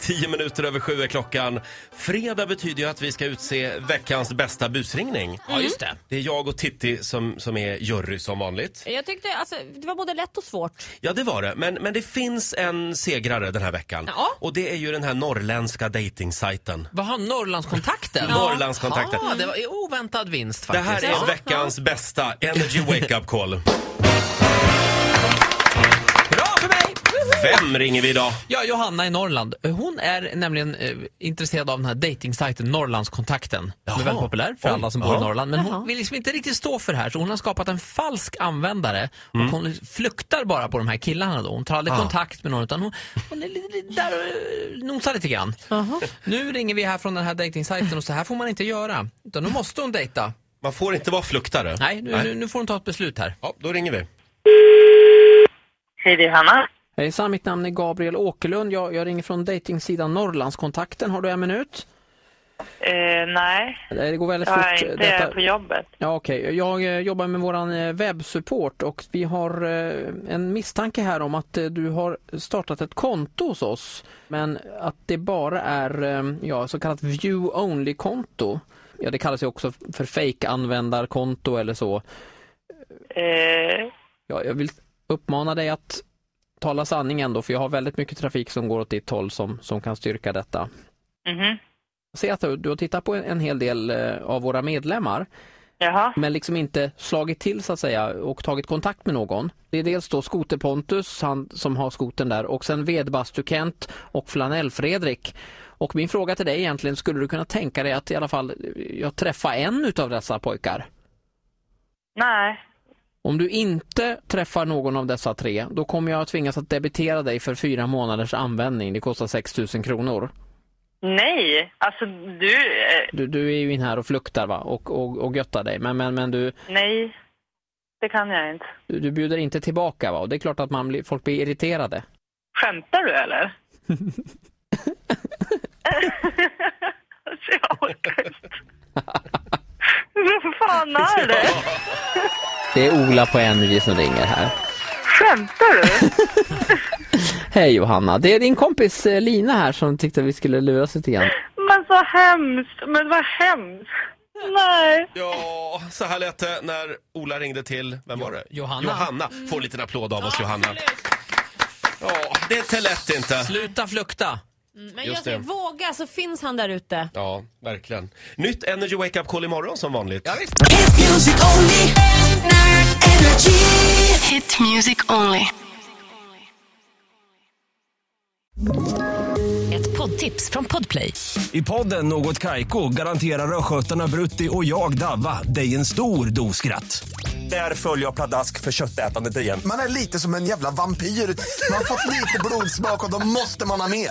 Tio minuter över sju är klockan. Fredag betyder ju att vi ska utse veckans bästa busringning. Mm. Ja, just det. Det är jag och Titti som, som är jury som vanligt. Jag tyckte alltså, det var både lätt och svårt. Ja, det var det. Men, men det finns en segrare den här veckan. Ja. Och det är ju den här norrländska datingsajten. Vad har Norrlandskontakten? Ja. Norrlandskontakten. Ah, det var en oväntad vinst Det faktiskt. här är Ja. veckans bästa Energy Wake Up Call. Bra för mig! Vem ringer vi idag? Ja, Johanna i Norrland. Hon är nämligen eh, intresserad av den här datingsajten Norrlandskontakten. Som är Jaha. väldigt populär för Oj. alla som bor Ja. i Norrland. Men Jaha. hon vill liksom inte riktigt stå för det här så hon har skapat en falsk användare. Och hon flyktar bara på de här killarna då. Hon tar aldrig Mm. Ah. kontakt med någon utan hon, hon är lite lite där och eh, nosar lite grann. Nu ringer vi här från den här datingsajten och så här får man inte göra. Utan nu måste hon dejta. Man får inte vara fluktare. Nej, nu, Nu, nu får hon ta ett beslut här. Ja, då ringer vi. Hej, det är Hanna. Hejsan, mitt namn är Gabriel Åkerlund. Jag, jag ringer från dejtingsidan Norrlandskontakten. Har du en minut? Eh, nej, Eh, Det går väldigt jag fort. är inte jag är på jobbet. Ja, okej. Jag eh, jobbar med vår eh, webbsupport och vi har eh, en misstanke här om att eh, du har startat ett konto hos oss men att det bara är eh, ja, så kallat view-only-konto. Ja, det kallas ju också för fake-användarkonto eller så. Eh, Ja, jag vill uppmana dig att tala sanning ändå för jag har väldigt mycket trafik som går åt ditt håll som, som kan styrka detta. mhm. Se att du du har tittat på en, en hel del eh, av våra medlemmar Jaha, men liksom inte slagit till så att säga och tagit kontakt med någon. Det är dels då Skoter Pontus, han som har skoten där och sen Vedbastu Kent och Flanell Fredrik. Och min fråga till dig egentligen, skulle du kunna tänka dig att i alla fall eh, jag träffar en utav dessa pojkar? nej. Om du inte träffar någon av dessa tre, då kommer jag att tvingas att debitera dig för fyra månaders användning. Det kostar 6 000 kronor. Nej, alltså du... Eh, Du, du är ju in här och fluktar va? Och, och, och göttar dig. Men, men, men du, nej, det kan jag inte. du, du bjuder inte tillbaka va? Och det är klart att man blir, folk blir irriterade. Skämtar du eller? alltså jag orkar inte. Vem fan är det? Det är Ola på Energy som ringer här. Skämtar du? Hej Johanna, det är din kompis eh, Lina här som tyckte vi skulle luras lite grann. Men så hemskt, men vad hemskt. Nej. Ja, så här lät det när Ola ringde till, vem var det? Johanna. Johanna. Får en liten applåd av oss Johanna. Ja, det är inte lätt inte. Sluta flukta! Men Just jag säger, det. våga så finns han där ute. Ja, verkligen. Nytt Energy Wake Up Call imorgon som vanligt. Hit music only. Energy. Hit music only. Ett poddtips från Podplay. I podden Något Kaiko garanterar östgötarna Brutti och jag, Davva, dig en stor dos skratt. Där följer jag pladask för köttätandet igen. Man är lite som en jävla vampyr. Man har fått lite blodsmak och då måste man ha mer.